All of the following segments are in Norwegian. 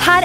her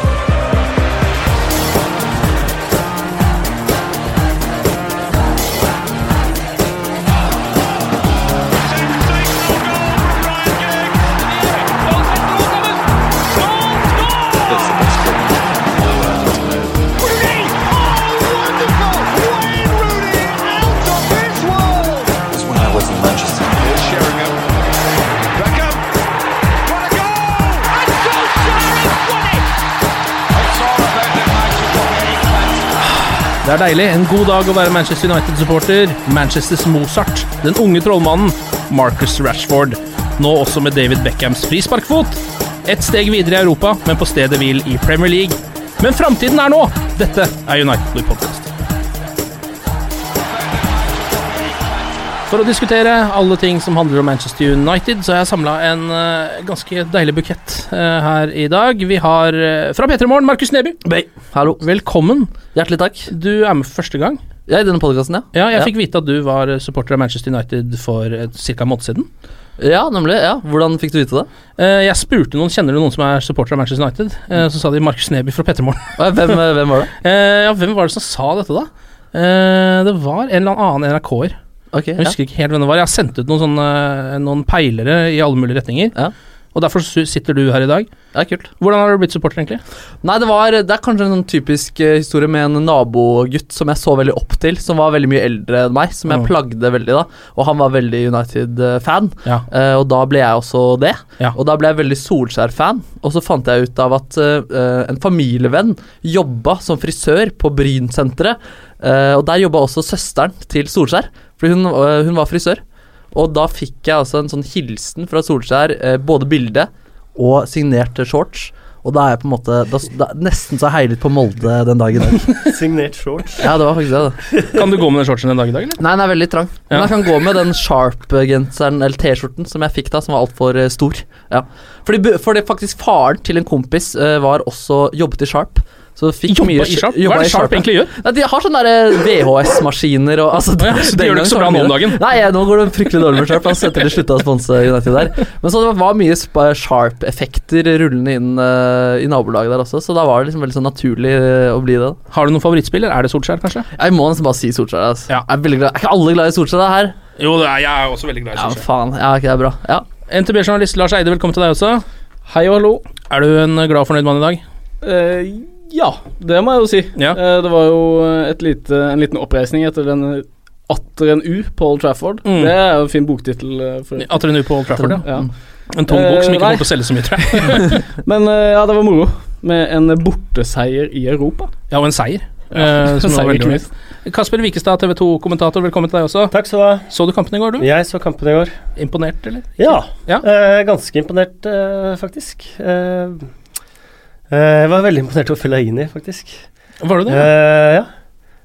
Det er deilig. En god dag å være Manchester United-supporter. Manchesters Mozart. Den unge trollmannen Marcus Rashford. Nå også med David Beckhams frisparkfot. Ett steg videre i Europa, men på stedet hvil i Premier League. Men framtiden er nå! Dette er United Blue Podcast. For å diskutere alle ting som handler om Manchester United, så har jeg samla en eh, ganske deilig bukett eh, her i dag. Vi har eh, fra P3 Morgen Markus Neby. Hallo. Velkommen. Hjertelig takk. Du er med for første gang. Ja, I denne podkasten, ja. Ja, jeg fikk vite at du var eh, supporter av Manchester United for eh, cirka en måned siden. Ja, nemlig. ja. Hvordan fikk du vite det? Eh, jeg spurte noen kjenner du noen som er supporter av Manchester United. Eh, så sa de Markus Neby fra Pettermoren. Å, ja, Hvem, eh, hvem var det? Eh, ja, hvem var det som sa dette, da? Eh, det var en eller annen NRK-er. Ok, Jeg husker ikke helt hvem det var. Jeg har sendt ut noen, sånne, noen peilere i alle mulige retninger. Ja. Og derfor su- sitter du her i dag. ja. ja, kult. Hvordan har du blitt supporter, egentlig? Nei, det, var, det er kanskje en sånn typisk eh, historie med en nabogutt som jeg så veldig opp til, som var veldig mye eldre enn meg, som jeg Mm. plagde veldig, da. Og han var veldig United-fan, Ja. eh, og da ble jeg også det. Ja. Og da ble jeg veldig Solskjær-fan, og så fant jeg ut av at eh, en familievenn jobba som frisør på Brynsenteret, eh, og der jobba også søsteren til Solskjær, fordi hun, eh, hun var frisør. Og da fikk jeg altså en sånn hilsen fra Solskjær, eh, både bilde og signerte shorts. Og da er jeg på en måte da, da, Nesten så jeg heilet på Molde den dagen. Signert shorts. Ja, det var faktisk det. da. Kan du gå med den shortsen en dag i dag, eller? Nei, den er veldig trang. Men Ja. jeg kan gå med den Sharp-genseren eller T-skjorten som jeg fikk da, som var altfor eh, stor. Ja. Fordi, bu- fordi faktisk faren til en kompis eh, var også jobbet i Sharp. Så fikk Jobba mye i Sharp? Hva er det Sharp egentlig gjør? Nei, de har sånne der, eh, VHS-maskiner og altså, Å ja, så det gjør det ikke så bra nå om dagen. Nei, eh, nå går det fryktelig dårlig med Sharp. Altså, etter de slutta å sponse United der. Men så det var mye spa- Sharp-effekter rullende inn eh, i nabolaget der også, så da var det liksom veldig sånn naturlig eh, å bli det. da. Har du noen favorittspiller? Er det Solskjær, kanskje? Jeg må nesten bare si Solskjær. Altså. Ja. Jeg er, veldig glad. er ikke alle glad i Solskjær da, her? Jo, det er, jeg er også veldig glad Ja, faen. Ja, ok, det er bra. Ja. NTB-journalist Lars Eide, velkommen til deg også. Hei og hallo. Er du en glad og fornøyd mann i dag? Eh, ja, det må jeg jo si. Ja. Eh, det var jo et lite, en liten oppreisning etter den atter en U på Old Trafford. Mm. Det er jo en fin boktittel. eh, for- Atter en uke på Old Trafford, ja. Mm. Ja. En tung bok Eh, som ikke nei. kommer til å selge så mye, tror jeg. Men eh, ja, det var moro med en borteseier i Europa. Ja, og en seier. eh, som var Seier, veldig ikke ålreit. minst. Kasper Wikestad, TV 2-kommentator, velkommen til deg også. Takk skal du ha. Så du kampen i går, du? Jeg så kampen i går. Imponert, eller? Ja. Ja. eh, ganske imponert, eh, faktisk. Eh, eh, jeg var veldig imponert over Fellaini, faktisk. Var du det? Eh, ja.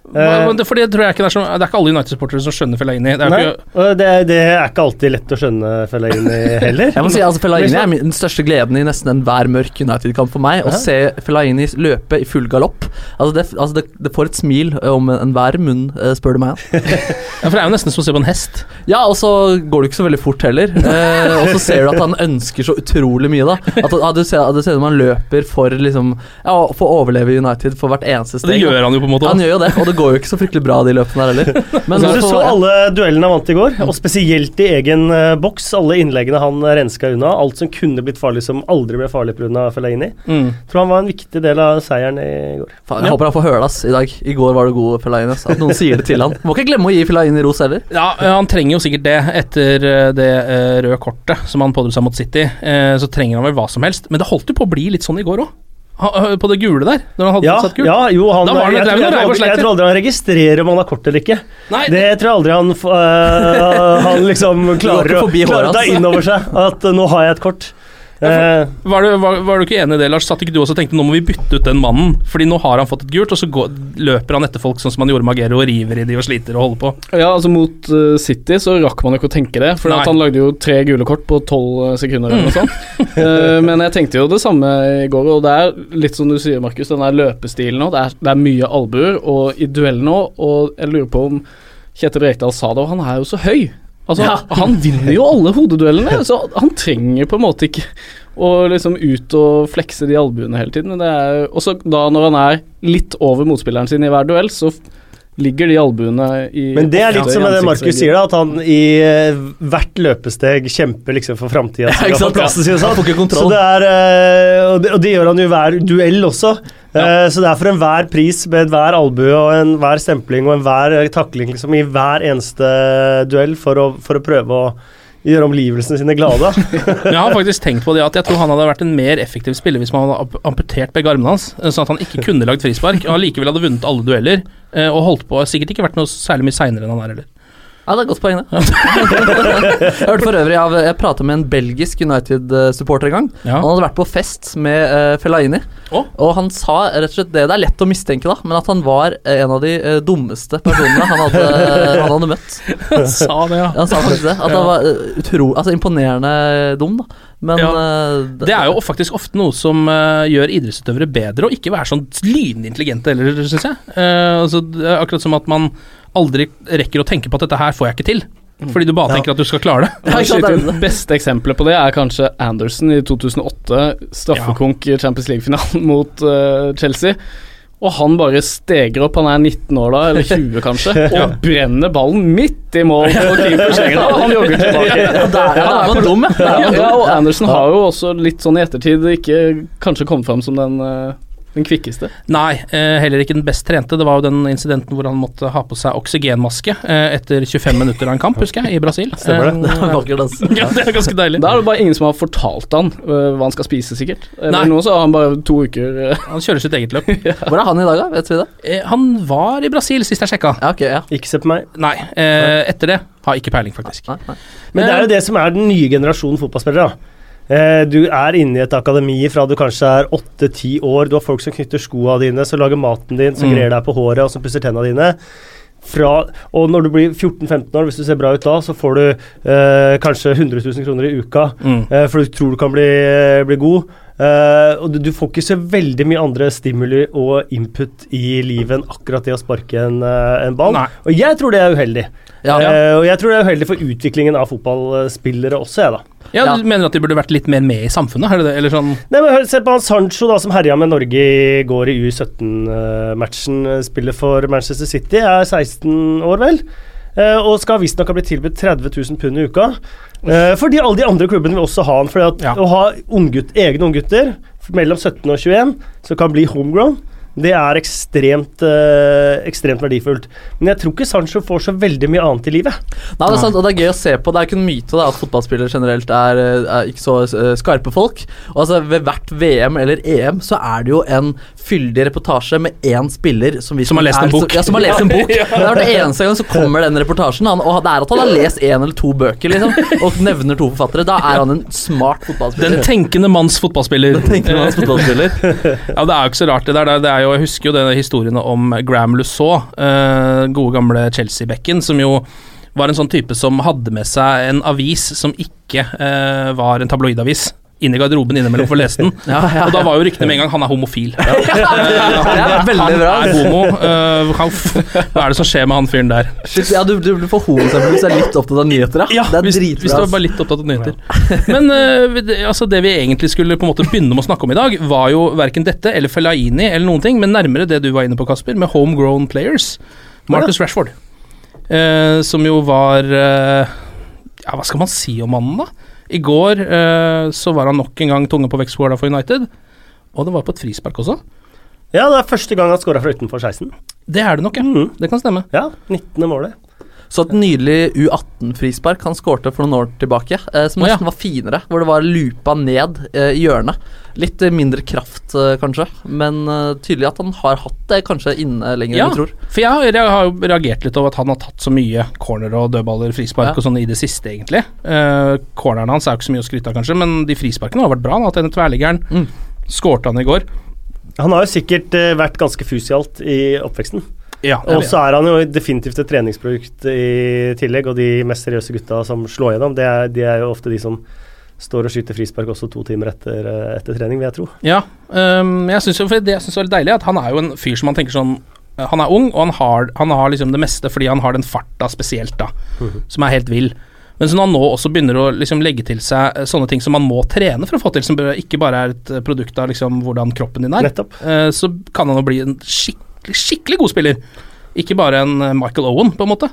Eh, Hva- men det, for det tror jeg ikke det er, så, det er ikke alle United-supportere som skjønner Fellaini. Det er jo Nei, ikke, og det, det er ikke alltid lett å skjønne Fellaini heller. Jeg må si, altså, Fellaini Men så- er min- den største gleden i nesten enhver mørk United-kamp for meg. Å Ja. se Fellaini løpe i full galopp. Altså, det, altså, det, det får et smil eh, om enhver munn, eh, spør du meg. ja, for det er jo nesten som å se på en hest. Ja, og så går det ikke så veldig fort heller. Eh, og så ser du at han ønsker så utrolig mye, da. At, at du ser at du ser at man løper for liksom Ja, for å overleve i United for hvert eneste Og det steg. gjør han jo på en måte. Han da. gjør jo det, og det det går jo ikke så fryktelig bra, de løpene her heller. Men det du får så være. alle duellene han vant i går, og spesielt i egen eh, boks. Alle innleggene han eh, renska unna. Alt som kunne blitt farlig, som aldri ble farlig pga. Fellaini. Mm. Tror han var en viktig del av seieren i går. Faen, jeg håper han får høre det ass, i dag. I går var du god, Fellaini. ass. At noen sier det til han. Må ikke glemme å gi Fellaini ros heller. Ja, eh, han trenger jo sikkert det etter eh, det eh, røde kortet som han pådro seg mot City. eh, Så trenger han vel hva som helst. Men det holdt jo på å bli litt sånn i går òg. På det gule der, når han hadde Ja, satt gult. ja, jo, han, da var han jeg, tror, jo jeg, tror drev og aldri, jeg tror sleit. aldri han registrerer om han har kort eller ikke. Nei. det tror jeg aldri han, f- øh, han liksom klarer ikke å forbi klarer håret å ta hans. inn over seg at øh, nå har jeg et kort. Eh, Var du, var, var du ikke enig i det, Lars? Satt ikke du også og tenkte nå må vi bytte ut den mannen? Fordi nå har han fått et gult, og så går, løper han etter folk sånn som han gjorde med Agero, og river i de og sliter og holder på. Ja, altså Mot eh, City så rakk man jo ikke å tenke det, for Nei. han lagde jo tre gule kort på tolv sekunder. eller noe sånt. Eh, Men jeg tenkte jo det samme i går, og det er litt som du sier, Markus, den der løpestilen nå. Det er, det er mye albuer og i duell nå, og jeg lurer på om Kjetil Rekdal sa det, og han er jo så høy. Altså, Han vinner jo alle hodeduellene, så han trenger på en måte ikke å liksom ut og flekse de albuene hele tiden. Men det er jo også da når han er litt over motspilleren sin i hver duell, så f- ligger de albuene i Men det er litt ofte i som det ansiktsveggen. Markus sier, da, at han i eh, hvert løpesteg kjemper liksom for framtida. Ja, ikke sant, ja. Han får ikke kontroll. sånn. Så det er, eh, og, det, og det gjør han jo i hver duell også. Eh, Så det er for enhver pris, med enhver albue og enhver stempling og enhver eh, takling, liksom, i hver eneste duell, for å, for å prøve å gjøre omgivelsene sine glade. Men jeg har faktisk tenkt på det at jeg tror han hadde vært en mer effektiv spiller hvis man hadde amp- amputert begge armene hans, eh, sånn at han ikke kunne lagd frispark, og allikevel hadde vunnet alle dueller, eh, og holdt på sikkert ikke vært noe særlig mye seinere enn han er heller. Ja, det er et godt poeng, det. jeg hørte for øvrig av Jeg prata med en belgisk United-supporter en gang. Ja. Han hadde vært på fest med eh, Fellaini, Å? og han sa rett og slett det. Det er lett å mistenke, da, men at han var eh, en av de eh, dummeste personene han hadde, eh, han hadde møtt. Sa det, ja. Han sa faktisk det. At Ja. han var eh, utro, altså, imponerende dum, da. Men Ja. eh, Det er jo faktisk ofte noe som eh, gjør idrettsutøvere bedre, og ikke være sånn lynintelligente heller, syns jeg. Eh, altså, det er akkurat som at man aldri rekker å tenke på at dette her får jeg ikke til. Fordi du bare Ja. tenker at du skal klare det. Mm. Ja, ikke sant, det er det. Beste eksempelet på det er kanskje Anderson i 2008. Straffekonk i Champions League-finalen mot eh, Chelsea. Og han bare steger opp, han er 19 år da, eller 20 kanskje, Ja. og brenner ballen midt i mål på keeper Schengen. Og han jogger tilbake. Ja, der er- der er man dum, ja. Der er man dum. ja. Og Anderson har jo også litt sånn i ettertid ikke kanskje kommet fram som den, eh, den kvikkeste. Nei, eh, heller ikke den best trente. Det var jo den incidenten hvor han måtte ha på seg oksygenmaske eh, etter 25 minutter av en kamp, husker jeg, i Brasil. Eh, Stemmer det. det er vakkert, altså. Ja, det er ganske deilig. Da er det bare ingen som har fortalt han eh, hva han skal spise, sikkert. Eller Nei. nå så har han bare to uker eh, Han kjører sitt eget løp. Hvor er han i dag, da? Vet vi det? Eh, han var i Brasil sist jeg sjekka. Ja, ok, ja. Ikke se på meg. Nei, eh, etter det har jeg ikke peiling, faktisk. Eh, Nei, nei. Men det er jo det som er den nye generasjonen fotballspillere. da. Eh, Du er inne i et akademi fra du kanskje er åtte-ti år. Du har folk som knytter skoa dine, som lager maten din, som Mm. grer deg på håret og som pusser tenna dine. Fra, og når du blir 14-15 år, hvis du ser bra ut da, så får du eh, kanskje 100 000 kroner i uka, Mm. eh, for du tror du kan bli, bli øh, god. Eh, og du, du får ikke så veldig mye andre stimuli og input i livet enn akkurat det å sparke en, eh, en ball. Nei. Og jeg tror det er uheldig. Ja, ja. Eh, og jeg tror det er uheldig for utviklingen av fotballspillere også, jeg, da. Ja, Ja. Du mener at de burde vært litt mer med i samfunnet? Er det det? Eller sånn Nei, men hør, Se på han Sancho, da, som herja med Norge i går i U17-matchen. eh, Spiller for Manchester City, er 16 år, vel. Eh, og skal visstnok ha blitt tilbudt 30 000 pund i uka. Eh, fordi alle de andre klubbene vil også ha han. Fordi at Ja. Å ha unggutt, egne unggutter mellom 17 og 21 som kan bli homegrown, det er ekstremt, eh, ekstremt verdifullt. Men jeg tror ikke Sancho får så veldig mye annet i livet. Nei, det er sant, og det er gøy å se på. Det er ikke en myte da, at fotballspillere generelt er, eh, er ikke så eh, skarpe folk. Og altså, Ved hvert VM eller EM så er det jo en fyldig reportasje med én spiller som, vi- Som har lest en er så- bok. Ja, som har lest en bok. Det er den eneste gang så kommer den reportasjen. Han, og det er at han har lest én eller to bøker, liksom, og nevner to forfattere. Da er han en smart Den fotballspiller. tenkende manns fotballspiller. tenker man som fotballspiller. Ja, Det er jo ikke så rart. det der. Det er jo, jeg husker jo denne historien om Graham Lussau, eh, gode gamle Chelsea-bekken, som jo var en sånn type som hadde med seg en avis som ikke eh, var en tabloidavis. inn i garderoben innimellom for å lese den. Og da var jo ryktene med en gang han er homofil. Eh, han, veldig han bra. er homo. eh, han, f- hva er det som skjer med han fyren der? Shit, ja, du, du blir for homoseksuell hvis du er litt opptatt av nyheter, ja. Det er hvis, dritbra, hvis du var ass. bare litt opptatt av nyheter. Men eh, det, altså det vi egentlig skulle på en måte begynne med å snakke om i dag, var jo verken dette eller Fellaini eller noen ting, men nærmere det du var inne på, Kasper, med homegrown players. Marcus Rashford, eh, som jo var eh, Ja, hva skal man si om mannen, da? I går eh, så var han nok en gang tunge på vektskåla for United, og det var på et frispark også. Ja, det er første gang han skåra fra utenfor Mm. 16. Det er det nok, ja. Det kan stemme. Ja, 19. målet. Så et nydelig U18-frispark han skårte for noen år tilbake, eh, som Å, ja. nesten var finere, hvor det var lupa ned eh, i hjørnet. Litt eh, mindre kraft, eh, kanskje, men eh, tydelig at han har hatt det kanskje inne lenger Ja, enn du tror. for jeg har, jeg har jo reagert litt over at han har tatt så mye corner og dødballer, frispark Ja. og sånn i det siste, egentlig. Eh, cornerne hans er jo ikke så mye å skryte av, kanskje, men de frisparkene har vært bra. Han har hatt en tverrliggeren. Mm. Skårte han i går. Han har jo sikkert eh, vært ganske fusialt i oppveksten. Ja, Og så er han jo definitivt et treningsprodukt i tillegg, og de mest seriøse gutta som slår gjennom, det er, de er jo ofte de som står og skyter frispark også to timer etter, eh, etter trening, vil jeg tro. ja ehm, jeg synes jo, for Det jeg syns er litt deilig, er at han er jo en fyr som man tenker sånn eh, Han er ung, og han har, han har liksom det meste fordi han har den farta spesielt, da. Mhm. som er helt vill. Men så når han nå også begynner å liksom legge til seg eh, sånne ting som man må trene for å få til, som bør- ikke bare er et eh, produkt av liksom hvordan kroppen din er, Nettopp. eh, så kan han jo bli en skikkelig, skikkelig god spiller. Ikke bare en eh, Michael Owen, på en måte.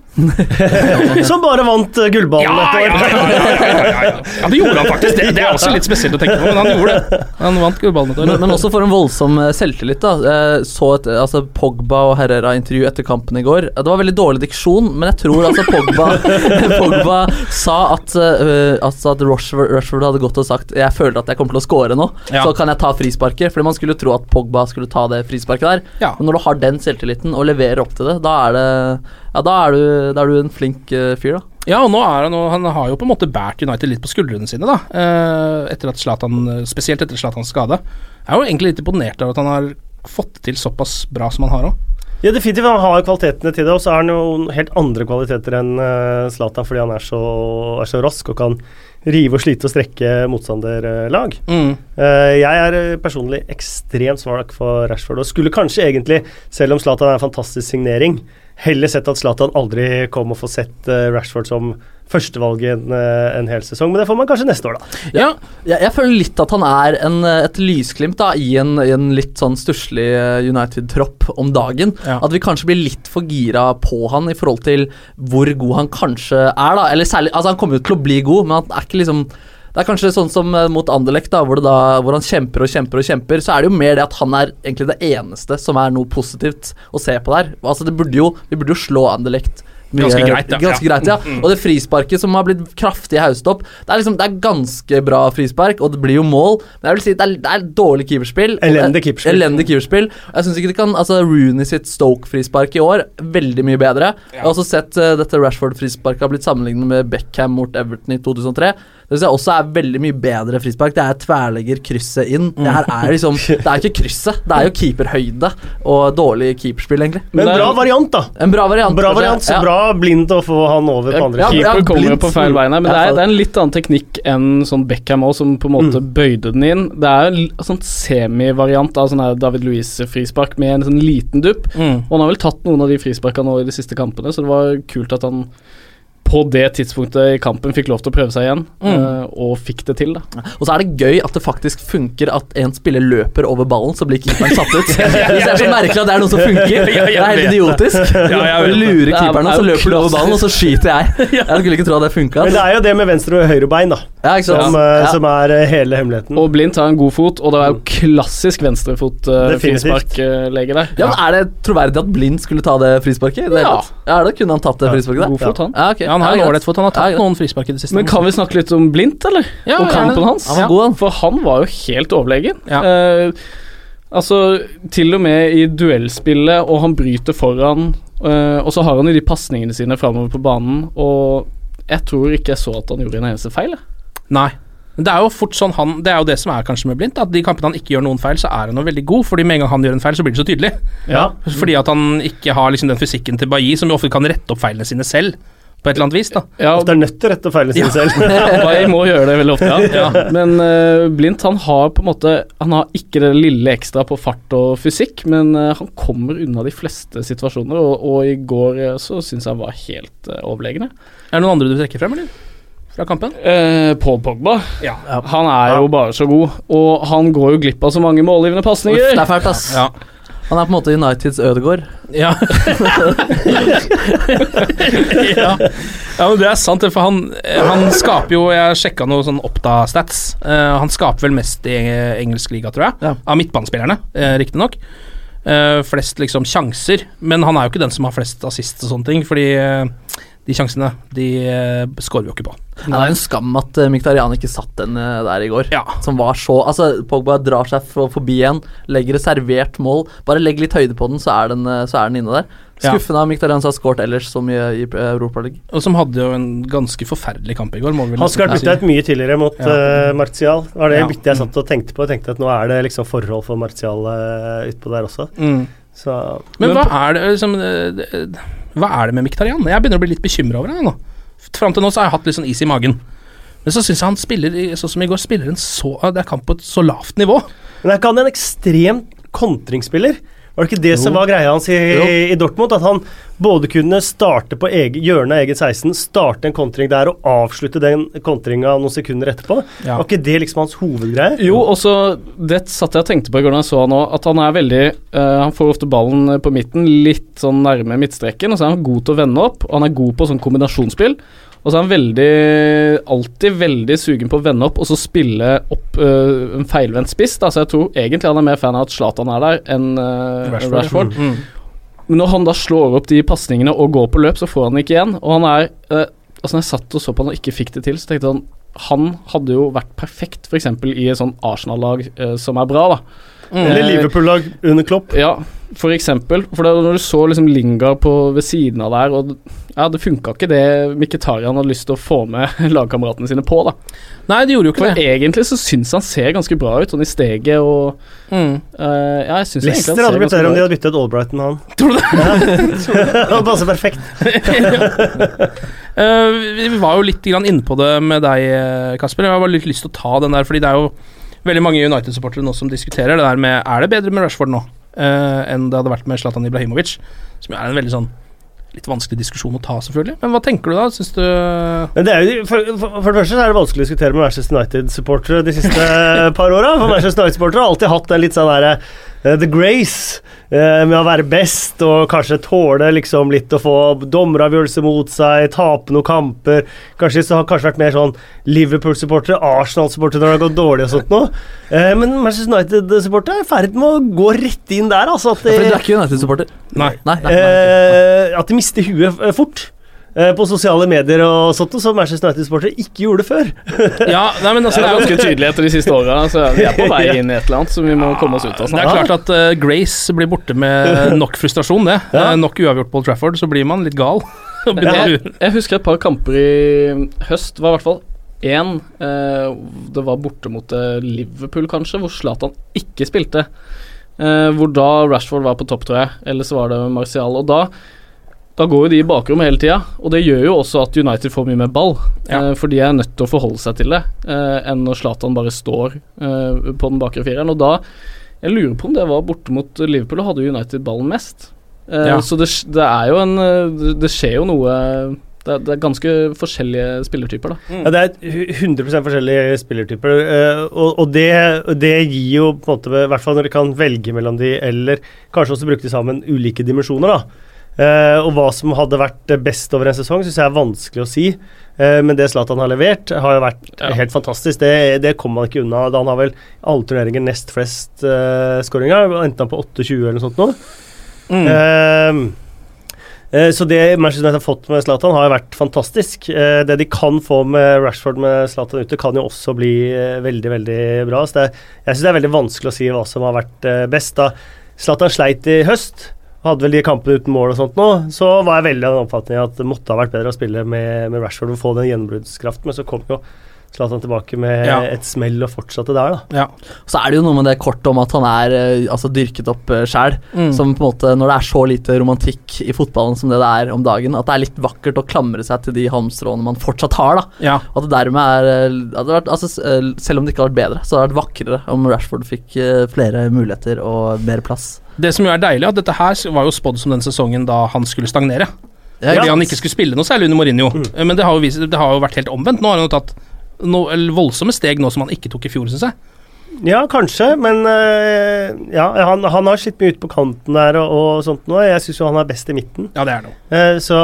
Som bare vant eh, gullballen etter hvert. Ja, det gjorde han faktisk. Det, det er også litt spesielt å tenke på, men han gjorde det. Han vant gullballen et år. Men, men også for en voldsom eh, selvtillit. da Eh, Så et eh, altså Pogba og Herrera-intervju etter kampen i går. Eh, Det var veldig dårlig diksjon, men jeg tror altså Pogba, Pogba sa at, eh, altså at Rushford, Rushford hadde gått og sagt 'jeg føler at jeg kommer til å score nå', Ja. så kan jeg ta frisparket. Fordi man skulle tro at Pogba skulle ta det frisparket der. Ja. Men når du har den selvtilliten og leverer opp til det, da er, det, ja, da er, du, da er du en flink eh, fyr, da. Ja, og nå er han, han har jo på en måte bært United litt på skuldrene sine, da. eh, Etter at Zlatan, spesielt etter Zlatans skade. Jeg er jo egentlig litt imponert over at han har fått til såpass bra som han har òg. Ja, definitivt. Han har kvalitetene til det, og så er han jo helt andre kvaliteter enn eh, Zlatan fordi han er så, er så rask og kan rive og slite og strekke motstanderlag. Mm. Eh, jeg er eh, personlig ekstremt svak for Rashford, og skulle kanskje egentlig, selv om Zlatan er en fantastisk signering, heller sett at Zlatan aldri kom og får sett eh, Rashford som førstevalg i en, eh, en hel sesong, men det får man kanskje neste år, da. Ja. Jeg, jeg føler litt at han er en, eh, et lysglimt da, i, en, i en litt sånn stusslig eh, United-tropp om dagen. Ja. At vi kanskje blir litt for gira på han i forhold til hvor god han kanskje er. da, eller særlig, altså Han kommer jo til å bli god, men han er ikke liksom det er kanskje sånn som eh, mot Anderlecht, da, hvor, det da, hvor han kjemper og kjemper. og kjemper, Så er det jo mer det at han er egentlig det eneste som er noe positivt å se på der. Altså det burde jo, Vi burde jo slå Anderlecht mye- Ganske greit, ja. Ja. ganske greit, ja. Og det frisparket som har blitt kraftig haust opp Det er liksom, det er ganske bra frispark, og det blir jo mål. Men jeg vil si det er, det er dårlig keeperspill. og- Elendig keeperspill. Elendig keeperspill. Og Jeg synes ikke det kan, altså Rooney sitt Stoke-frispark i år, veldig mye bedre. Jeg har også sett eh, dette Rashford-frisparket har blitt sammenlignet med Beckham mot Everton i 2003. Det synes jeg også er veldig mye bedre frispark. Det er tverrlegger krysset inn. Det her er liksom, det er ikke krysset, det er jo keeperhøyde og dårlig keeperspill, egentlig. Men det er- bra variant, da. En bra variant. Bra kanskje. variant, så Ja. bra blind å få han over på andre Ja, siden. ja, Keeper kommer jo blindt. på feil vei her, men Ja, det er, faen. det er en litt annen teknikk enn sånn Beckham òg, som på en måte Mm. bøyde den inn. Det er en l- sånn semivariant av sånn her David Louise-frispark med en sånn liten dupp. Mm. Og han har vel tatt noen av de frisparkene nå i de siste kampene, så det var kult at han på det tidspunktet i kampen fikk lov til å prøve seg igjen, eh, og fikk det til, da. Og så er det gøy at det faktisk funker at en spiller løper over ballen, så blir keeperen satt ut. Det er så merkelig at det er noe som funker. Det er helt idiotisk. jeg vet Du det. lurer Det er- keeperen, og det er så jo løper du over ballen, og så skyter jeg. Jeg skulle ikke tro at det funka. Men det er jo det med venstre og høyre bein, da, Ja, ikke sant? som, eh, Ja. som er eh, hele hemmeligheten. Og Blindt har en god fot, og det er jo klassisk eh, Definitivt. venstrefot-frisparklege der. Mm. Ja, men Er det troverdig at Blind skulle ta det frisparket? i Det hele Ja. tatt? ja, da kunne han tatt det frisparket der. God fot, han. Ja, ok. Ja, han har Ja, en greit. ålreitfot. Han har Ja, tatt greit. noen frispark i det siste. Men kan vi snakke litt om Blindt, eller? Ja, og gjerne. kampen hans? Han var god, han. For han var jo helt overlegen. Ja. Eh, altså, til og med i duellspillet, og han bryter foran, eh, og så har han jo de pasningene sine framover på banen, og jeg tror ikke jeg så at han gjorde en eneste feil. jeg. Nei. Men det er jo fort sånn han, det er jo det som er kanskje med Blindt, at de kampene han ikke gjør noen feil, så er han jo veldig god, fordi med en gang han gjør en feil, så blir det så tydelig. Ja. Fordi at han ikke har liksom den fysikken til Bailly, som jo ofte kan rette opp feilene sine selv. på et eller annet vis, da. Ja. Ofte er nødt til å rette og feile sine selv. Jeg må gjøre det veldig ofte, ja. Ja. Men eh, Blindt han har på en måte Han har ikke det lille ekstra på fart og fysikk, men eh, han kommer unna de fleste situasjoner, og, og i går eh, så syns jeg han var helt uh, overlegne. Er det noen andre du trekker frem, eller? Fra kampen? Eh, Paul Pogba. Ja. Han er jo bare så god, og han går jo glipp av så mange målgivende pasninger. Uff, det er fælt, ass. Ja. Han er på en måte Uniteds Ødegaard. Ja. ja. ja, men det er sant, for han, han skaper jo Jeg sjekka noe sånn Oppda-stats. Eh, han skaper vel mest i eh, engelsk liga, tror jeg. Ja. Av midtbanespillerne, uh, riktignok. flest liksom sjanser, men han er jo ikke den som har flest assist og sånne ting, fordi eh, de sjansene, de uh, scorer vi jo ikke på. Ja, det er en skam at eh, Mkhitaryan ikke satt den eh, der i går. Ja. Som var så Altså, Pogba drar seg for, forbi en, legger et servert mål. Bare legg litt høyde på den, så er den, eh, så er den inne der. Ja. Skuffende av Mkhitaryan som har skåret ellers så mye i Europaligaen. Og som hadde jo en ganske forferdelig kamp i går. Må vi vel Han skulle nesten vært bytta ut mye tidligere mot Ja. eh, Martial. Det var det Ja. byttet jeg Mm. satt og tenkte på. Jeg tenkte at nå er det liksom forhold for Martial eh, utpå der også. si. Mm. Så Men, hva er det liksom, eh, det- Hva er det med Miktarian? Jeg begynner å bli litt bekymra over ham nå. Fram til nå så har jeg hatt litt sånn is i magen. Men så syns jeg han spiller, i- sånn som i går, spiller en så Det er kamp på et så lavt nivå. Men er ikke han en ekstremt kontringsspiller? Var det ikke det Jo. som var greia hans i, i Dortmund? At han både kunne starte på egen, hjørnet av egen 16, starte en kontring der og avslutte den kontringa noen sekunder etterpå? Ja. Var ikke det liksom hans hovedgreie? Jo, også det satt jeg og tenkte på i går da jeg så han òg, at han er veldig eh, Han får ofte ballen på midten, litt sånn nærme midtstreken, og så er han god til å vende opp, og han er god på sånn kombinasjonsspill. Og så er han veldig, alltid veldig sugen på å vende opp og så spille opp eh, en feilvendt spiss. Da. Så jeg tror egentlig han er mer fan av at Zlatan er der, enn eh, Rashford. Mm. Men når han da slår opp de pasningene og går på løp, så får han ikke igjen. Og han er eh, Altså, når jeg satt og så på han og ikke fikk det til, så tenkte han han hadde jo vært perfekt f.eks. i et sånn Arsenal-lag eh, som er bra, da. Mm. Eller Liverpool-lag under Klopp? Ja, for eksempel. For da når du så liksom Lingard på, ved siden av der, og ja, det funka ikke det Mkhitarian hadde lyst til å få med lagkameratene sine på, da. Nei, det gjorde jo ikke For det. egentlig så syns han ser ganske bra ut, sånn i steget og Mm. eh, Ja, jeg syns egentlig Leicester han hadde ser blitt ganske bedre om de bra ut. hadde byttet ut Albrighton med han. Tror du det? Han passer perfekt. Eh, vi- vi var jo litt grann inne på det med deg, eh, Kasper. Jeg har bare litt lyst til å ta den der, fordi det er jo veldig mange United-supportere nå som diskuterer det der med Er det bedre med Rashford nå eh, enn det hadde vært med Zlatan Ibrahimovic? Som jo er en veldig sånn litt vanskelig diskusjon å ta, selvfølgelig. Men hva tenker du da? Syns du Men det er jo, for, for, for det første så er det vanskelig å diskutere med Manchester United-supportere de siste eh, par åra. For Manchester United-supportere har alltid hatt den litt sånn derre eh, The Grace eh, med å være best og kanskje tåle liksom litt å få dommeravgjørelser mot seg, tape noen kamper. Kanskje så har kanskje vært mer sånn Liverpool-supportere, Arsenal-supportere når det har gått dårlig og sånt noe. Eh, men Manchester United-supportere er i ferd med å gå rett inn der, altså. At Ja, fordi du det, er ikke United-supporter. Nei. Nei, nei, nei. Eh, at de mister huet eh, fort. eh, På sosiale medier og sånt, som Manchester United-sportere ikke gjorde før. Ja, nei, men altså, Det er ganske tydelig etter de siste åra, så vi er på vei Ja. inn i et eller annet som vi må komme oss ut altså. av Det snart. er klart at eh, Grace blir borte med nok frustrasjon, det. Eh, nok uavgjort på Old Trafford, så blir man litt gal. Og begynner å Jeg, lure. jeg husker et par kamper i høst. var i hvert fall én eh, Det var borte mot eh, Liverpool, kanskje, hvor Zlatan ikke spilte. Eh, hvor da Rashford var på topp, tror jeg. Eller så var det Martial. Og da da går jo de i bakrommet hele tida, og det gjør jo også at United får mye mer ball. Ja. Eh, for de er nødt til å forholde seg til det, eh, enn når Zlatan bare står eh, på den bakre fireren. Og da Jeg lurer på om det var borte mot Liverpool, og hadde United ballen mest. Eh, Ja. Så det, sk- det er jo en eh, det- Det skjer jo noe det er, det er ganske forskjellige spillertyper, da. Ja, det er hu- 100 forskjellige spillertyper, eh, og, og det, det gir jo på en måte, I hvert fall når de kan velge mellom de, eller kanskje også bruke de sammen, ulike dimensjoner. da. Eh, og hva som hadde vært best over en sesong, syns jeg er vanskelig å si. Eh, men det Zlatan har levert, har jo vært Ja. helt fantastisk. Det, det kommer man ikke unna. Han har vel alle turneringer nest flest uh, skåringer. Endte han på 28 eller noe sånt nå? Mm. Ehm, eh, så det Manchester United har fått med Zlatan, har jo vært fantastisk. Eh, det de kan få med Rashford med Zlatan ute, kan jo også bli eh, veldig, veldig bra. Så det, er- jeg syns det er veldig vanskelig å si hva som har vært eh, best. da Zlatan sleit i høst. Hadde vel de kampene uten mål og sånt nå, så var jeg veldig av den oppfatning at det måtte ha vært bedre å spille med, med Rashford og få den gjennombruddskraften, men så kom jo Zlatan tilbake med Ja. et smell og fortsatte der, da. Så er det jo noe med det kortet om at han er eh, altså, dyrket opp eh, sjæl. Mm. Som på en måte, når det er så lite romantikk i fotballen som det det er om dagen, at det er litt vakkert å klamre seg til de halmstråene man fortsatt har. da. Ja. At det dermed er eh, det hadde vært, altså, s- eh, Selv om det ikke hadde vært bedre, så hadde det vært vakrere om Rashford fikk eh, flere muligheter og mer plass. Det som jo er deilig, er at dette her var jo spådd som den sesongen da han skulle stagnere. Ja, Fordi ja. han ikke skulle spille noe særlig under Mourinho. Eh, Men det har, jo vist, det har jo vært helt omvendt. Nå har han jo tatt no, eller voldsomme steg nå som han ikke tok i fjor, syns jeg. Ja, kanskje, men eh, ja, han, han har slitt mye ut på kanten der og, og sånt nå. Jeg syns jo han er best i midten. Ja, det er noe. Eh, så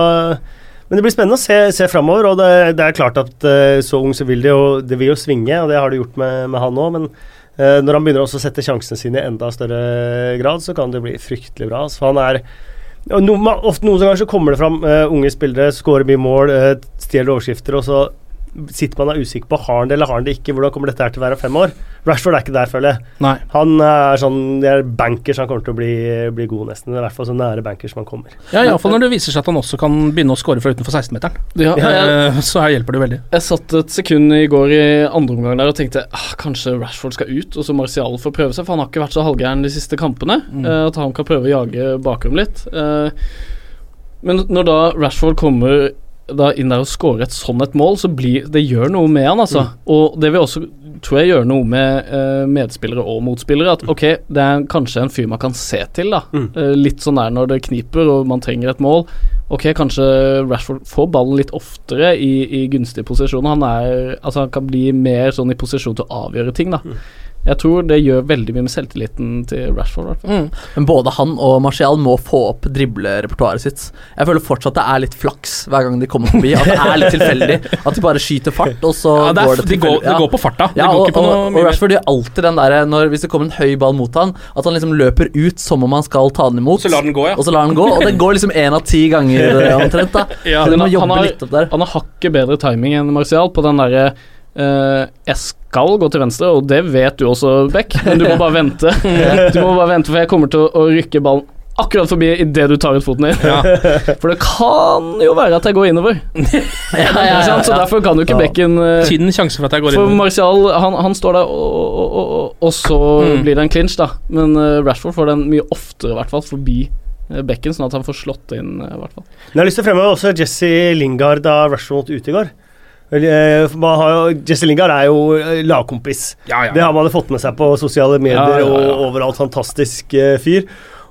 Men det blir spennende å se, se framover, og det, det er klart at eh, så ung så vil det jo Det vil jo svinge, og det har det gjort med, med han òg, men eh, når han begynner også å sette sjansene sine i enda større grad, så kan det bli fryktelig bra. Så han er og no, ma- ofte Noen ganger så kommer det fram eh, unge spillere, skårer mye mål, eh, stjeler overskrifter, og så sitter man og er usikker på har han det eller har han det ikke. Hvordan kommer dette her til å være om fem år? Rashford er ikke der, føler jeg. Nei. Han er sånn det er bankers han kommer til å bli, bli god, nesten. I hvert fall så nære bankers man kommer. Ja, Iallfall når det viser seg at han også kan begynne å score fra utenfor 16-meteren. Ja, Eh, Så her hjelper det veldig. Jeg satt et sekund i går i andre omgang der og tenkte ah, kanskje Rashford skal ut, og så Martial får prøve seg, for han har ikke vært så halvgæren de siste kampene. Mm. eh, at han kan prøve å jage bakrom litt. Eh, men når da Rashford kommer da inn der og scorer et sånn et mål, så blir det gjør noe med han, Mm. altså. Og det vil også, tror jeg, gjøre noe med eh, medspillere og motspillere. Mm. At ok, det er kanskje en fyr man kan se til, da. Eh, litt sånn der når det kniper og man trenger et mål. Ok, kanskje Rashford får ballen litt oftere i, i gunstige posisjoner. Han, er, altså han kan bli mer sånn i posisjon til å avgjøre ting, da. Jeg tror det gjør veldig mye med selvtilliten til Rashford, i hvert fall. Men både han og Martial må få opp driblerepertoaret sitt. Jeg føler fortsatt det er litt flaks hver gang de kommer forbi, at det er litt tilfeldig. At de bare skyter fart, og så Ja, det er, går det det, går, tilfeldig. det går på farta. Ja, det går og, ikke på noe og, mye og mer. Rashford gjør alltid den der eh, når, Hvis det kommer en høy ball mot han At han liksom løper ut som om han skal ta den imot Så lar den gå, ja. Og så lar den gå, og det går liksom en av ti ganger eh, omtrent da Ja, Så de men han- må han jobbe har- litt opp der Han har hakket bedre timing enn Martial på den derre eh, Jeg skal gå til venstre, og det vet du også, Beck, men du må bare vente. Du må bare vente, for jeg kommer til å, å rykke ballen akkurat forbi idet du tar ut foten din. For det kan jo være at jeg går innover. Ikke sant? Så derfor kan jo ikke Becken eh, Tynn sjanse for at jeg går For inn. Martial, han, han står der, og, og, og, og, og så Mm. blir det en clinch, da. Men eh, Rashford får den mye oftere, i hvert fall, forbi eh, Becken, sånn at han får slått inn, eh, i hvert fall. Men jeg har lyst til å fremheve også Jesse Lingard da Rashford måtte ut i går. Vel, eh, for man har jo- Jesse Lingard er jo eh, lagkompis. Ja, ja. Det har man jo fått med seg på sosiale medier Ja, ja, ja. og overalt. Fantastisk eh, fyr.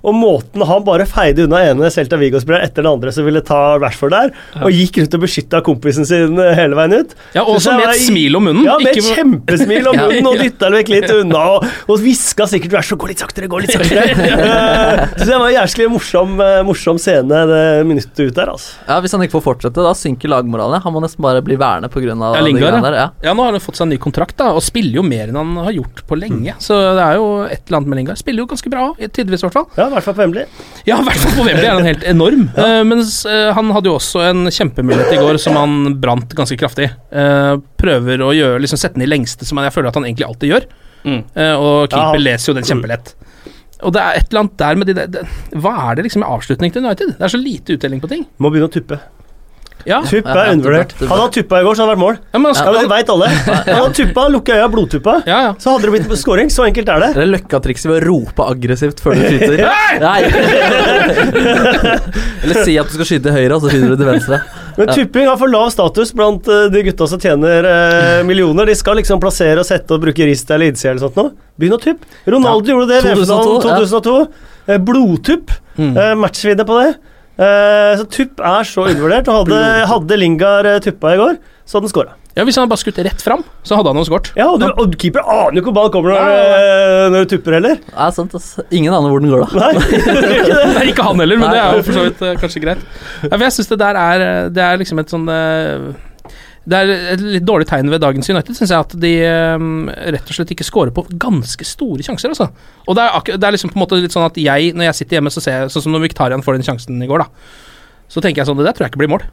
Og måten han bare feide unna ene Celta Vigo-spilleren etter den andre som ville ta Rashford der, og gikk rundt og beskytta kompisen sin eh, hele veien ut. Ja, Synes og også jeg med var- et smil om munnen. Ja, med et Mm, Ikke- kjempesmil om Ja. munnen, og dytta den vekk litt unna, og, og hviska sikkert Rashford 'gå litt saktere, gå litt saktere'. Eh, Synes jeg var en jævlig morsom, eh, morsom scene det minuttet ut der, altså. Ja, hvis han ikke får fortsette Da synker lagmoralen ja. Han må nesten bare bli værende på grunn av Ja, de Lingard, ja. greiene der, ja. ja, nå har han fått seg en ny kontrakt, da, og spiller jo mer enn han har gjort på lenge. Så det er jo et eller annet med Lingard. Spiller jo ganske bra, i- tidvis i hvert fall. Ja, i hvert fall på Wembley. Ja, i hvert fall på Wembley er han helt enorm. Eh, mens eh, han hadde jo også en kjempemulighet i går som han brant ganske kraftig. Eh, prøver å gjøre, liksom sette den i lengste, som jeg føler at han egentlig alltid gjør. Eh, og Ja, keeper han- leser jo den kjempelett. Og det er et eller annet der med de der det, Hva er det liksom med avslutning til United? Det er så lite uttelling på ting. Må begynne å tuppe. Ja, Tuppe Ja, er ja, undervurdert. tuppe, tuppe. Hadde han tuppa i går, så hadde det vært mål. ja men han Ja, skal, men Det veit alle. Hadde han tuppa, lukka øya, blodtuppa, ja, ja. så hadde det blitt scoring. Så enkelt er det. Det er løkkatrikset ved å rope aggressivt før du skyter Nei Eller si at du skal skyte i høyre Og så skyter du til venstre Men tupping har for lav status blant eh, de gutta som tjener eh, millioner. De skal liksom plassere og sette og bruke rist eller innsida eller sånt noe. Begynn å tuppe. Ronaldo gjorde det i 2002, VM-finalen ja. 2002. Eh, Blodtupp. Eh, Matchvidde på det. Eh, Så tupp er så undervurdert. Og hadde, hadde Lingard eh, tuppa i går, så hadde han scora. ja, hvis han hadde bare skutt rett fram, så hadde han jo skåret. Ja, og, du, og keeper aner jo ikke hvor ballen kommer når, Nei, eh, når du tupper heller. Ja, sant ass. Ingen aner hvor den går da Nei, det gjør ikke det. Nei, ikke han heller, men Nei. det er jo for så vidt eh, kanskje greit. Ja, for jeg synes det der er eh, Det er liksom et sånn eh, Det er et litt dårlig tegn ved dagens United, syns jeg, at de eh, rett og slett ikke scorer på ganske store sjanser, altså. Og det er, akkur- det er liksom på en måte litt sånn at jeg, når jeg sitter hjemme, så ser jeg sånn som når Viktarian får den sjansen i går, da. Så tenker jeg sånn Det der tror jeg ikke blir mål.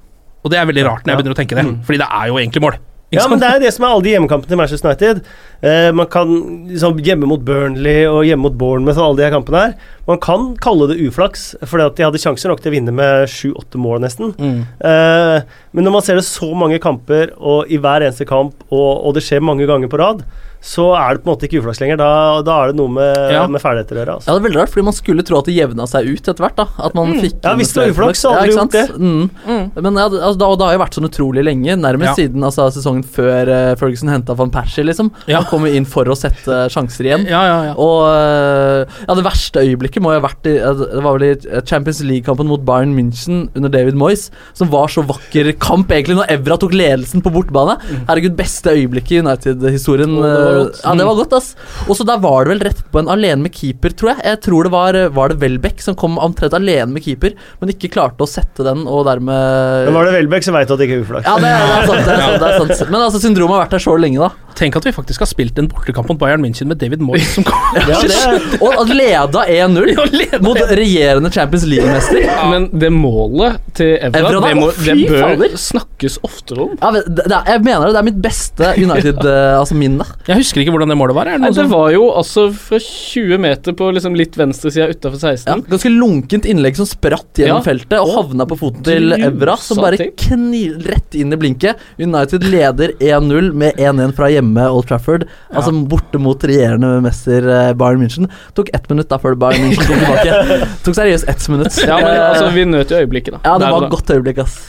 Og det er veldig rart når jeg begynner å tenke det, fordi det er jo egentlig mål. Ja, men det er det som er alle de hjemmekampene til Manchester United. Eh, man kan liksom, Hjemme mot Burnley og hjemme mot Bournemouth og alle de her kampene her. Man kan kalle det uflaks, fordi at de hadde sjanser nok til å vinne med sju-åtte mål, nesten. Mm. Eh, men når man ser det så mange kamper, og i hver eneste kamp, og, og det skjer mange ganger på rad, så er det på en måte ikke uflaks lenger. Da, da er det noe med, Ja. med ferdigheter å gjøre. Altså. Ja, det er veldig rart, fordi man skulle tro at det jevna seg ut etter hvert. da At man Mm. fikk Ja, hvis det var flere uflaks, så folk. hadde Ja, du ikke sant? Mm. Men ja, det- altså, da, og det har jo vært sånn utrolig lenge, nærmest Ja. siden altså, sesongen før eh, Ferguson henta van Persie, liksom. Han kom jo inn for å sette sjanser igjen. Og eh, ja, det verste øyeblikket må jo ha vært i, eh, Det var vel i Champions League-kampen mot Bayern München under David Moyes, som var så vakker kamp, egentlig, når Evra tok ledelsen på bortebane. Herregud, beste øyeblikket i United-historien. Mm. Å, det var eh, godt. Ja, det var godt, ass. Og så der var det vel rett på en alene med keeper, tror jeg. Jeg tror det var, eh, var det Welbeck som kom omtrent alene med keeper, men ikke klarte å sette den, og dermed Men var det Welbeck, så veit du at det ikke er uflaks. Ja, det, det er sant. Det er sant, det er sant. Men altså, syndromet har vært der så lenge, da. Tenk at vi faktisk har spilt en bortekamp mot Bayern München med David Moyes som kom. Ja, det, og at leda 1-0 mot regjerende Champions League-mester. Men det målet til Evra, Evra, da, det, må, fy det fader. bør snakkes oftere om. Ja, men det, det er, jeg mener det, det er mitt beste United, eh, altså min, da. Jeg husker ikke hvordan det målet var. Er det Nei, noe det som- var jo altså fra 20 meter på liksom litt venstresida utafor 16. Ja, ganske lunkent innlegg som spratt gjennom Ja. feltet og havna på foten til Grusa Evra, som bare ting. knir rett inn i blinket. United leder 1-0 med 1-1 fra hjemme Old Trafford. Altså borte mot regjerende mester eh, Bayern München. Tok ett minutt da før Bayern München kom tilbake. Tok seriøst ett minutt. Ja, men Eh, altså, vi nøt jo øyeblikket, da. ja, Der det og var da. et godt øyeblikk, ass.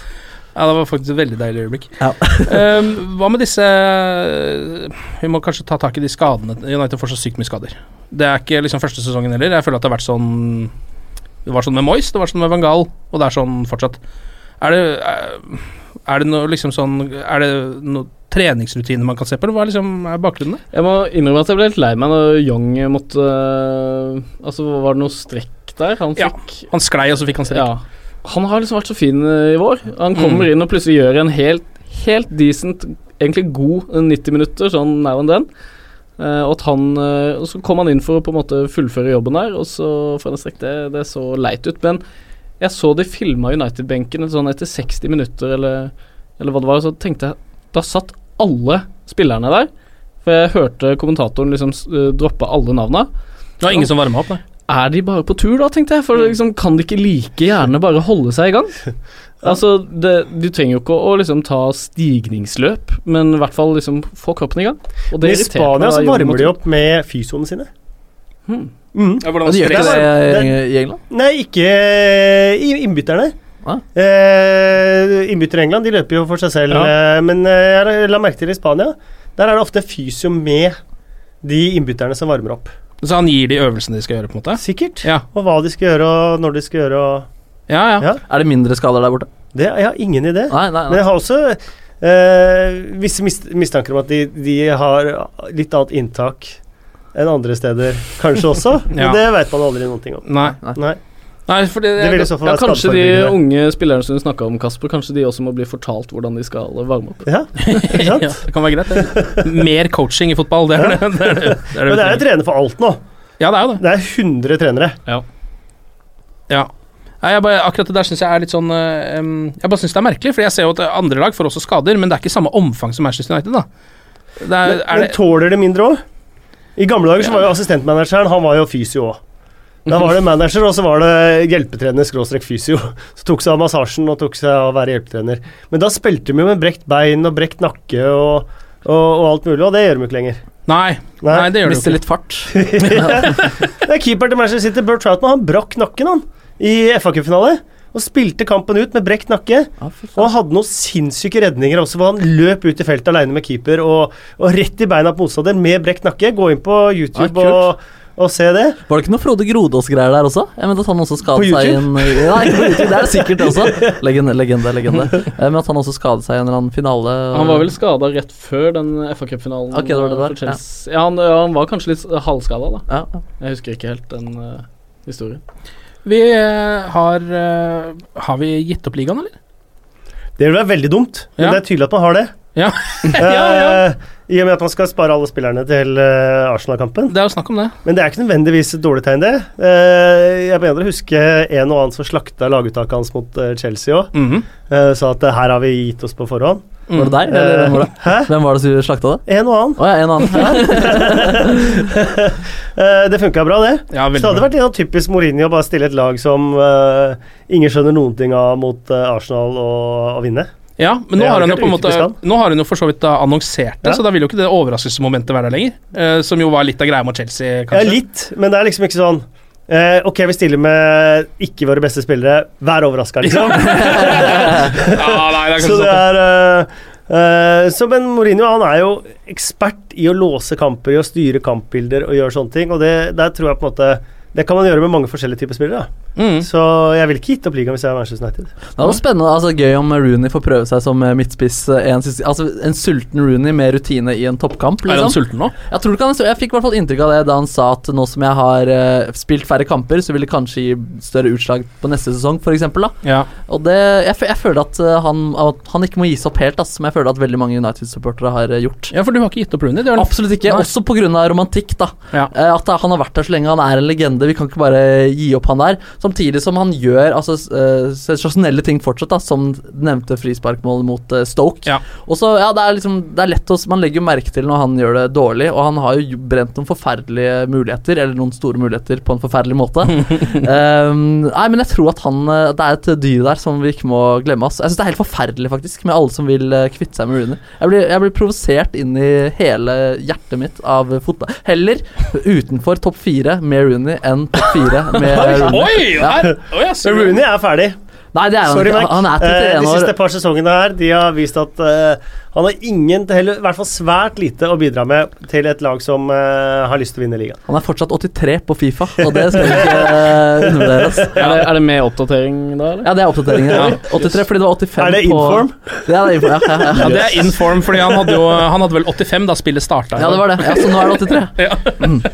Ja, det var faktisk et veldig deilig øyeblikk. Ja. Ehm, hva med disse Vi må kanskje ta tak i de skadene. United får så sykt mye skader. Det er ikke liksom første sesongen heller. Jeg føler at det har vært sånn Det var sånn med Moyes, det var sånn med Van Gaal, og det er sånn fortsatt. Er det er- Er det noe liksom sånn Er det noe treningsrutine man kan se på, eller hva er liksom er bakgrunnen der? Jeg må innrømme at jeg ble litt lei meg når Young måtte øh, Altså, var det noe strekk der? Han Ja, fikk Han sklei, og så fikk han strekk. Ja. Han har liksom vært så fin øh, i vår. Han kommer Mm. inn og plutselig gjør en helt, helt decent, egentlig god øh, 90 minutter, sånn now and then. Eh, og at han øh, Og så kom han inn for å på en måte fullføre jobben der, og så får han en strekk. Det, det så leit ut. Men jeg så de filma United-benken sånn etter 60 minutter, eller, eller hva det var, og så tenkte jeg Da satt alle spillerne der. For jeg hørte kommentatoren liksom s- øh, droppe alle navna. Det var ingen som varma opp, nei. Mm. Er de bare på tur, da, tenkte jeg? For liksom, kan de ikke like gjerne bare holde seg i gang? Altså, det, Du trenger jo ikke å liksom ta stigningsløp, men i hvert fall liksom få kroppen i gang. Og Men I irriterte meg Spania da så Jon varmer måtte- de opp med fysioene sine. Hmm. Mm. Men de gjør ikke stress. det i- i England? Nei, ikke eh, i- innbytterne. Hva? Eh, innbyttere i England de løper jo for seg selv, eh, men eh, jeg la merke til i Spania Der er det ofte fysio med de innbytterne som varmer opp. Så han gir de øvelsene de skal gjøre, på en måte? Sikkert. Ja, Og hva de skal gjøre, og når de skal gjøre, og ja. ja. Ja. Er det mindre skader der borte? det, Jeg har ingen idé. Nei, nei, Men nei. jeg har også eh, visse mis- mistanker om at de, de har litt annet inntak enn andre steder, kanskje også. Ja. Men det veit man aldri noen ting om. Nei. Nei. nei for det, Det vil i så fall Ja, være Kanskje de skadeforebyggende. unge spillerne som du snakka om, Kasper, kanskje de også må bli fortalt hvordan de skal varme opp. Ja, ikke ja, sant? det kan være greit, det. Mer coaching i fotball, det er det. det, er det, det, Men er det, det er jo vi trenger. trener for alt nå. ja, det er jo det. Det er 100 trenere. Ja. Nei, jeg bare, akkurat det der syns jeg er litt sånn eh, em, Jeg bare syns det er merkelig, for jeg ser jo at andre lag får også skader, men det er ikke samme omfang som Manchester United, da. Det er, Men, er men det, tåler det mindre òg? I gamle dager så var jo assistentmanageren Han var jo fysio òg. Da Mhm. var det manager, og så var det hjelpetrener skråstrek fysio. Så tok seg av massasjen og tok seg av å være hjelpetrener. Men da spilte de jo med brekt bein og brekt nakke og, og, og alt mulig, og det gjør de jo ikke lenger. nei, Nei. nei, det gjør det Mister jo ikke. litt fart. Det er keeper til Manchester City, Bert Troutman, han brakk nakken, han, i FA-cupfinale. Og spilte kampen ut med brekt nakke. Ja, fy faen. Og han hadde noen sinnssyke redninger også, hvor han løp ut i feltet alene med keeper og, og rett i beina på motstander med brekt nakke. Gå inn på YouTube Ja, kult. og, og se det. Var det ikke noe Frode Grodås-greier der også? Jeg mente at han også skadet På YouTube? seg i en Nei, ikke på YouTube, det er det sikkert også. Legende, legende, legende. Eh, Men at han også skadet seg i en eller annen finale. Han var vel skada rett før den FA-cupfinalen. Ok, det var det for der, Chelsea. Ja, han, ja, han var kanskje litt halvskada, da. ja. Jeg husker ikke helt den eh, historien. Vi eh, har eh, Har vi gitt opp ligaen, eller? Det vil være veldig dumt, men Ja. det er tydelig at man har det. Ja. Eh, I og med at man skal spare alle spillerne til eh, Arsenal-kampen. Det er jo snakk om det. Men det er ikke nødvendigvis et dårlig tegn, det. Eh, jeg mener å huske en og annen som slakta laguttaket hans mot eh, Chelsea òg. Mhm. Eh, sa at eh, her har vi gitt oss på forhånd. Mm. Var det deg, eller hvem var det? Hvem var det som slakta det? En og annen. Å ja, en og annen. Eh, det funka bra, det. Ja, veldig så det hadde bra. vært en av typisk Mourinho å bare stille et lag som eh, ingen skjønner noen ting av mot eh, Arsenal og å vinne. Ja, men nå Det har, hadde han jo vært på en måte, utebestand. nå har han jo for så vidt da annonsert det, Ja. så da vil jo ikke det overraskelsesmomentet være der lenger. eh, som jo var litt av greia mot Chelsea, Ja, kanskje. litt, men det er liksom ikke sånn eh, ok, vi stiller med ikke våre beste spillere. Vær overraska, liksom. Ja, nei, det er så kanskje sånn. det er sant. eh, eh, så, Men Mourinho han er jo ekspert i å låse kamper, i å styre kampbilder og gjøre sånne ting. Og det der tror jeg på en måte Det kan man gjøre med mange forskjellige typer spillere. Da. Mm. Så jeg ville ikke gitt opp ligaen hvis jeg var Manchester United. Det var spennende. altså Gøy om Rooney får prøve seg som eh, midtspiss. eh, En, siste- altså, en sulten Rooney med rutine i en toppkamp. Er han Liksom. sulten nå? Jeg tror ikke han er sulten. Jeg fikk i hvert fall inntrykk av det da han sa at nå som jeg har eh, spilt færre kamper, så vil det kanskje gi større utslag på neste sesong, for eksempel, da Ja. Og det, jeg, fø- jeg føler at eh, han, at han ikke må gis opp helt, ass, som jeg føler at veldig mange United-supportere har eh, gjort. ja, for du har ikke gitt opp Rooney? Det har du- Absolutt ikke. Nei. Også pga. romantikk, da. Ja. Eh, At han har vært der så lenge, han er en legende. Vi kan ikke bare gi opp han der. Samtidig som han gjør altså, eh, sensasjonelle ting fortsatt, da, som nevnte frisparkmål mot eh, Stoke. Ja. Og så, ja, det er liksom Det er lett å Man legger jo merke til når han gjør det dårlig, og han har jo brent noen forferdelige muligheter, eller noen store muligheter, på en forferdelig måte. um, nei, men jeg tror at han eh, Det er et dyr der som vi ikke må glemme, ass. Jeg syns det er helt forferdelig, faktisk, med alle som vil eh, kvitte seg med Rooney. Jeg blir, jeg blir provosert inn i hele hjertet mitt av fotball. Heller utenfor topp fire med Rooney enn topp fire med Rooney. Oi! Der. Oi, jeg ser- Men Rooney er ferdig. Nei, det er han Sorry, ikke. Mike. Han er Eh, 31 de år. siste par sesongene her De har vist at eh, han har ingen, heller, i hvert fall svært lite, å bidra med til et lag som eh, har lyst til å vinne ligaen. Han er fortsatt 83 på Fifa, og det skal vi ikke eh, undervurderes. Er det, er det med oppdatering da, eller? Ja, det er oppdateringen. Ja. 83 fordi det var 85 Er det på inform? Ja, det er inform. Ja, ja, Ja, ja. det er in form, fordi han hadde jo Han hadde vel 85 da spillet starta. ja, det var det. Ja, så nå er det Mm. 83.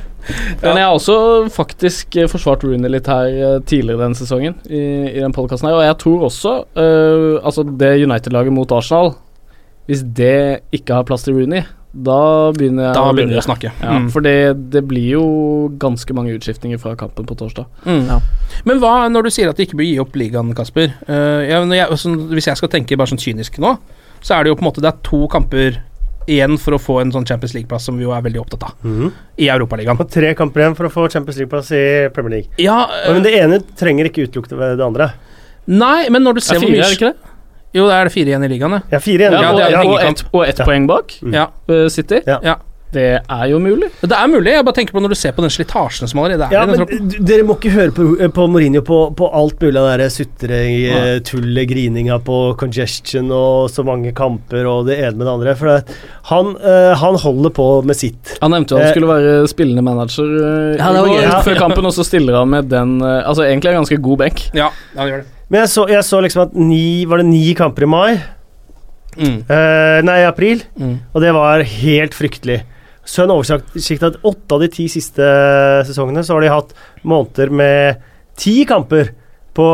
Men jeg har også faktisk eh, forsvart Rooney litt her eh, tidligere denne sesongen. I, i den podcasten her Og jeg tror også eh, Altså det United-laget mot Arsenal Hvis det ikke har plass til Rooney, da begynner jeg Da å begynner vi lure. å snakke. Ja, Mm. For det, det blir jo ganske mange utskiftninger fra kampen på torsdag. Mm. Ja. Men hva når du sier at de ikke bør gi opp ligaen, Kasper? Eh, ja, når jeg, altså, hvis jeg skal tenke bare sånn kynisk nå, så er det jo på en måte Det er to kamper igjen for å få en sånn Champions League-plass som vi jo er veldig opptatt av, i Europaligaen. Og tre kamper igjen for å få Champions League-plass i Premier League. Ja, eh, Men det ene trenger ikke utelukke det det andre. nei, men når du ser Det er hvor fire, mye er det ikke det? Jo, det er det fire igjen i ligaen, ja. Jeg har fire igjen. Ja, og, det er en og, hengekamp. ett- og ett Ja. poeng bak ja. eh, City. Ja. Ja. Det er jo mulig. Det er mulig. Jeg bare tenker på når du ser på den slitasjen som allerede er Ja, i den men troppen. d- Dere må ikke høre på, på Mourinho på, på alt mulig av det der sutring, eh, tullet, grininga på congestion og så mange kamper og det ene med det andre. For det, han, eh, han holder på med sitt. Han nevnte jo Eh, han skulle være spillende manager eh, Ja, det var i går, gøy. rett før kampen, og så stiller han med den eh, Altså egentlig en ganske god benk. Ja, ja, det gjør det. Men jeg så, jeg så liksom at ni Var det ni kamper i mai? Mm. Eh, nei, i april. Mm. Og det var helt fryktelig. Så en oversikt at åtte av de ti siste sesongene så har de hatt måneder med ti kamper på,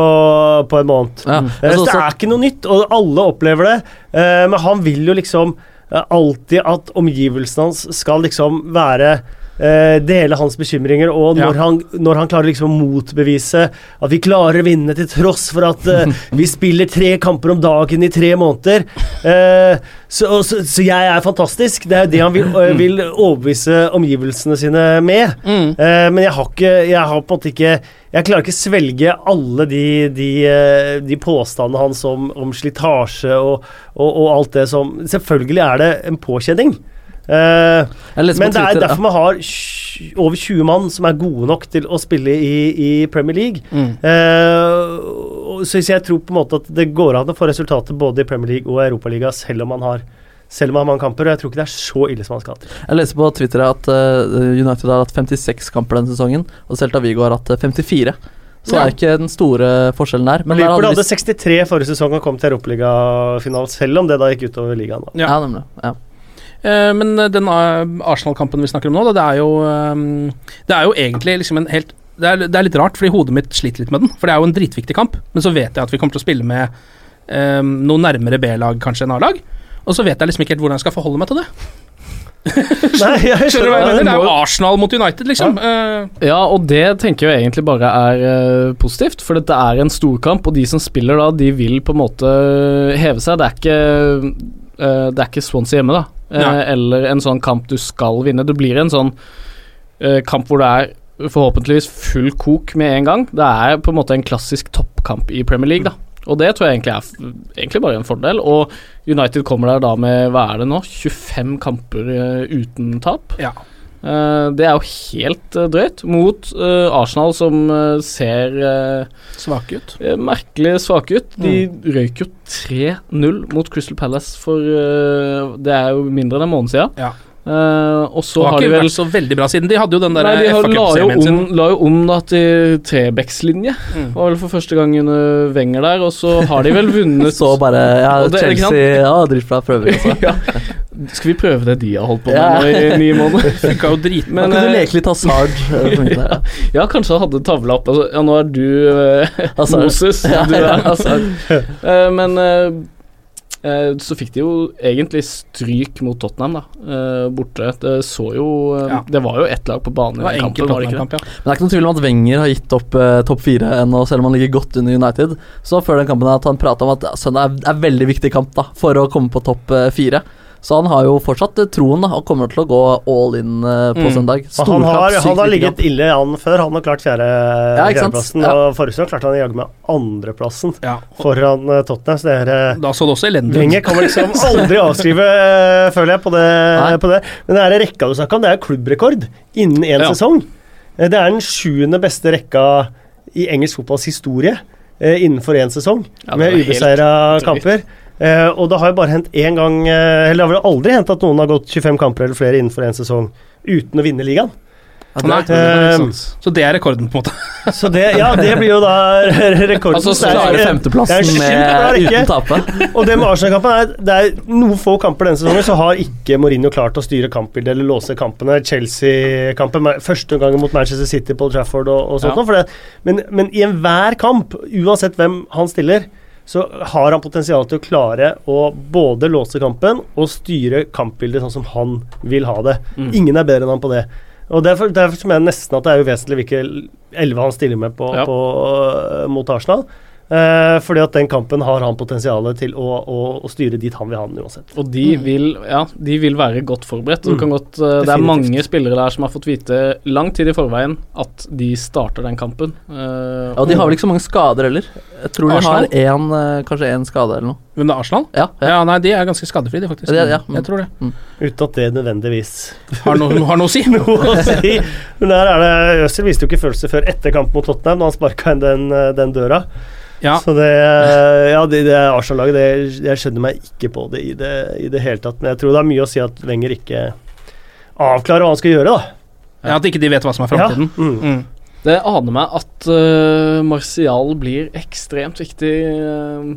på en måned. Ja. Eh, Jeg Så så det også, er ikke noe nytt, og alle opplever det. Eh, Men han vil jo liksom eh, alltid at omgivelsene hans skal liksom være eh, Dele hans bekymringer, og når, Ja. han, når han klarer liksom å motbevise at vi klarer å vinne til tross for at eh, vi spiller tre kamper om dagen i tre måneder eh, så, og så, så jeg er fantastisk. Det er jo det han vil, eh, vil overbevise omgivelsene sine med. Mm. Eh, men jeg har ikke Jeg har på en måte ikke Jeg klarer ikke svelge alle de, de, eh, de påstandene hans om, om slitasje og, og, og alt det som Selvfølgelig er det en påkjenning. Eh, jeg leste på men det er Twitter, derfor man har tj- over 20 mann som er gode nok til å spille i, i Premier League. Eh, og- så jeg tror på en måte at det går an å få resultater både i Premier League og Europaliga, selv om man har selv om man har mange kamper, og jeg tror ikke det er så ille som man skal til. Jeg leste på Twitter at eh, United har hatt 56 kamper denne sesongen, og Celta Vigo har hatt eh, 54. Så det er ikke den store forskjellen der. Men der Liverpool hadde hadde vi 63 forrige sesong og kom til Europaligafinalen, selv om det da gikk utover ligaen. da. Ja. ja, nemlig. Ja. Eh, Men eh, den eh, Arsenal-kampen vi snakker om nå, da, det er jo eh, Det er jo egentlig liksom en helt det er, det er litt rart, fordi hodet mitt sliter litt med den. For det er jo en dritviktig kamp, men så vet jeg at vi kommer til å spille med eh, noe nærmere B-lag kanskje enn A-lag. Og så vet jeg liksom ikke helt hvordan jeg skal forholde meg til det. Nei, jeg Skjønner du hva jeg skjønner. mener? Det er jo Arsenal mot United, liksom. Eh, Ja, og det tenker jeg egentlig bare er eh, positivt, for dette eh, er en storkamp, og de som spiller da, de vil på en måte heve seg. Det er ikke eh, Det er ikke Swansea hjemme, da. Eh, Nei. eller en sånn kamp du skal vinne. Det blir en sånn eh, kamp hvor det er forhåpentligvis full kok med en gang. Det er på en måte en klassisk toppkamp i Premier League, da. Og det tror jeg egentlig er f- egentlig bare en fordel. Og United kommer der da med hva er det nå, 25 kamper eh, uten tap. Eh, det er jo helt eh, drøyt. Mot eh, Arsenal, som eh, ser Svake ut. Eh, merkelig svake ut. De Mm. røyk jo 3-0 mot Crystal Palace for eh, Det er jo mindre enn en måned siden. Ja. Eh, og så Det har har de ikke vel vært så veldig bra siden. De hadde jo den der eh, Nei, de har, la, jo FA-cupserien sin. om, la jo om da til trebekslinje. Mm. Var vel for første gang under Wenger der, og så har de vel vunnet Så bare ja, Og det- ikke sant? Chelsea ja, dritbra prøver. altså. Også. ja. Skal vi prøve det de har holdt på med Ja. nå i ni måneder? Funka jo drit. Man Men, kunne eh, leke litt hasard. eh, tenkte jeg, ja. ja, kanskje han hadde tavla opp altså, Ja, nå er du eh, Hazard. Moses, og du Ja, er ja. Hazard. Eh, men eh, eh, så fikk de jo egentlig stryk mot Tottenham, da. eh, borte. Det så jo eh, Ja. Det var jo ett lag på banen Det i var den enkel kampen, var det ikke det? Tottenham-kamp, ja. Men det er ikke noen tvil om at Wenger har gitt opp eh, topp fire ennå, selv om han ligger godt under United. Så før den kampen at han prata om at ja, søndag er, er veldig viktig kamp da, for å komme på topp eh, fire. Så han har jo fortsatt eh, troen da, og kommer til å gå all in eh, på Mm. søndag. Han har, sykt han har viktig ligget kamp. ille an før. Han har klart fjerde, Ja, ikke sant? fjerdeplassen. Ja. Og forrige sesong klarte han jaggu meg andreplassen Ja. foran eh, Tottenham. Så det er eh, Da så det også elendig ut. Wenger kan man liksom aldri avskrive, eh, føler jeg, på det, Nei. på det. Men det er rekka du snakka om, det er klubbrekord innen én Ja. sesong. Eh, Det er den sjuende beste rekka i engelsk fotballs historie eh, innenfor én sesong, Ja, det med var helt ubeseira drøyt. kamper. Eh, og det har jo bare hendt én gang eh, Eller det har vel aldri hendt at noen har gått 25 kamper eller flere innenfor én sesong uten å vinne ligaen. Ja, Nei, det er- Ehm, Så det er rekorden, på en måte. så det, ja, det blir jo da rekorden. Altså, Så det er- Klare det er femteplassen en med, kjempebra rekke. uten tape. Og det med Arsenal-kampen er Det er noen få kamper denne sesongen Så har ikke Mourinho klart å styre kampbildet eller låse kampene. Chelsea-kampen, ma- første gangen mot Manchester City, Paul Trafford og, og sånt. Ja. noe, For det, men, men i enhver kamp, uansett hvem han stiller, så har han potensial til å klare å både låse kampen og styre kampbildet sånn som han vil ha det. Mm. Ingen er bedre enn han på det. Og Derfor, derfor så mener jeg nesten at det er uvesentlig hvilken elleve han stiller med på, Ja. på, øh, mot Arsenal. Eh, fordi at den kampen har han potensialet til å, å, å styre dit han vil ha den uansett. Og de Mm. vil, ja, de vil være godt forberedt. Så Mm. det kan godt, eh, det er Definitivt. mange spillere der som har fått vite lang tid i forveien at de starter den kampen. Eh, Ja, og de har vel ikke så mange skader heller. Jeg tror de har Arsenal? én, eh, kanskje én skade eller noe. Men det er Arsenal? Ja, ja. Ja, nei, de er ganske skadefrie, de, faktisk. Ja, de er- ja. Mm. Jeg tror det. Uten at det nødvendigvis Har noe, har noe å si. noe å si. Men der er det Øzil viste jo ikke følelser før etter kamp mot Tottenham, da han sparka inn den, eh, den døra. Ja. Så det eh, Ja, det, det Arsenal-laget, det jeg skjønner meg ikke på det i, det i det hele tatt. Men jeg tror det er mye å si at Wenger ikke avklarer hva han skal gjøre, da. Ja, At ikke de vet hva som er framtiden. Ja. Mm. Mm. Det aner meg at eh, Martial blir ekstremt viktig eh,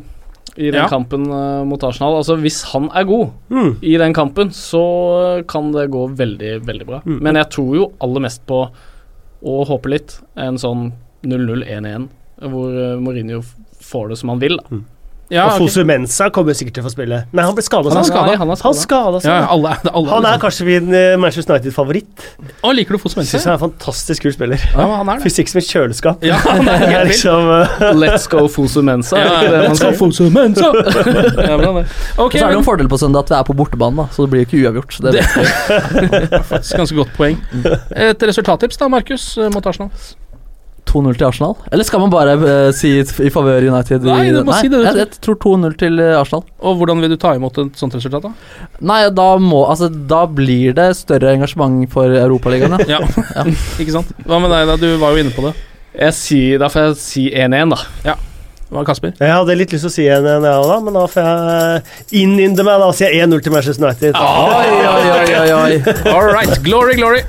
i den Ja. kampen eh, mot Arsenal. Altså, hvis han er god Mm. i den kampen, så eh, kan det gå veldig, veldig bra. Mm. Men jeg tror jo aller mest på, og håper litt, en sånn 0-0-1-1, hvor eh, Mourinho f- får det som han vil. da. Ja, og ok. Fosu Mensa kommer sikkert til å få spille. Nei, han ble skada. Han er skadet. Nei, han er Han skadet. skada seg. ja, alle, alle, alle Han er kanskje min eh, Manchester United-favoritt. Å, liker du Foss Syns Mense? han er en fantastisk kul spiller. Ja, han er det. Fysikk som et kjøleskap. Ja, han Det er er helt vill. liksom eh, Let's go Fosu Mensa. Ja, er det det man sier? Fosu Mense. Ja, men han er- Ok, Og så er det jo men en fordel på søndag at vi er på bortebane, da, så det blir jo ikke uavgjort. Det Det- faktisk ganske godt poeng. Et resultattips da, Markus, eh, mot Arsenal? 2-0 til Arsenal? Eller skal man bare eh, si i favør United? i- Nei, du må si det, du jeg, jeg tror 2-0 til eh, Arsenal. Og hvordan vil du ta imot et sånt resultat, da? Nei, da må Altså, da blir det større engasjement for Europaligaen, ja. Ja, ikke sant? Hva med deg, da? Du var jo inne på det. Jeg sier, da får jeg si 1-1, da. Hva, Kasper? Jeg hadde litt lyst til å si en, en jeg også da, men da får jeg eh, innynde meg. Da sier jeg 1-0 til Manchester United. Oi, oi, oi, oi, oi. All right, glory, glory.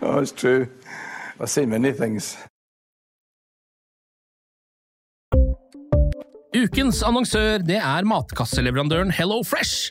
Oh, it's true. I've seen many things. Ukens annonsør det er matkasseleverandøren Hello Fresh.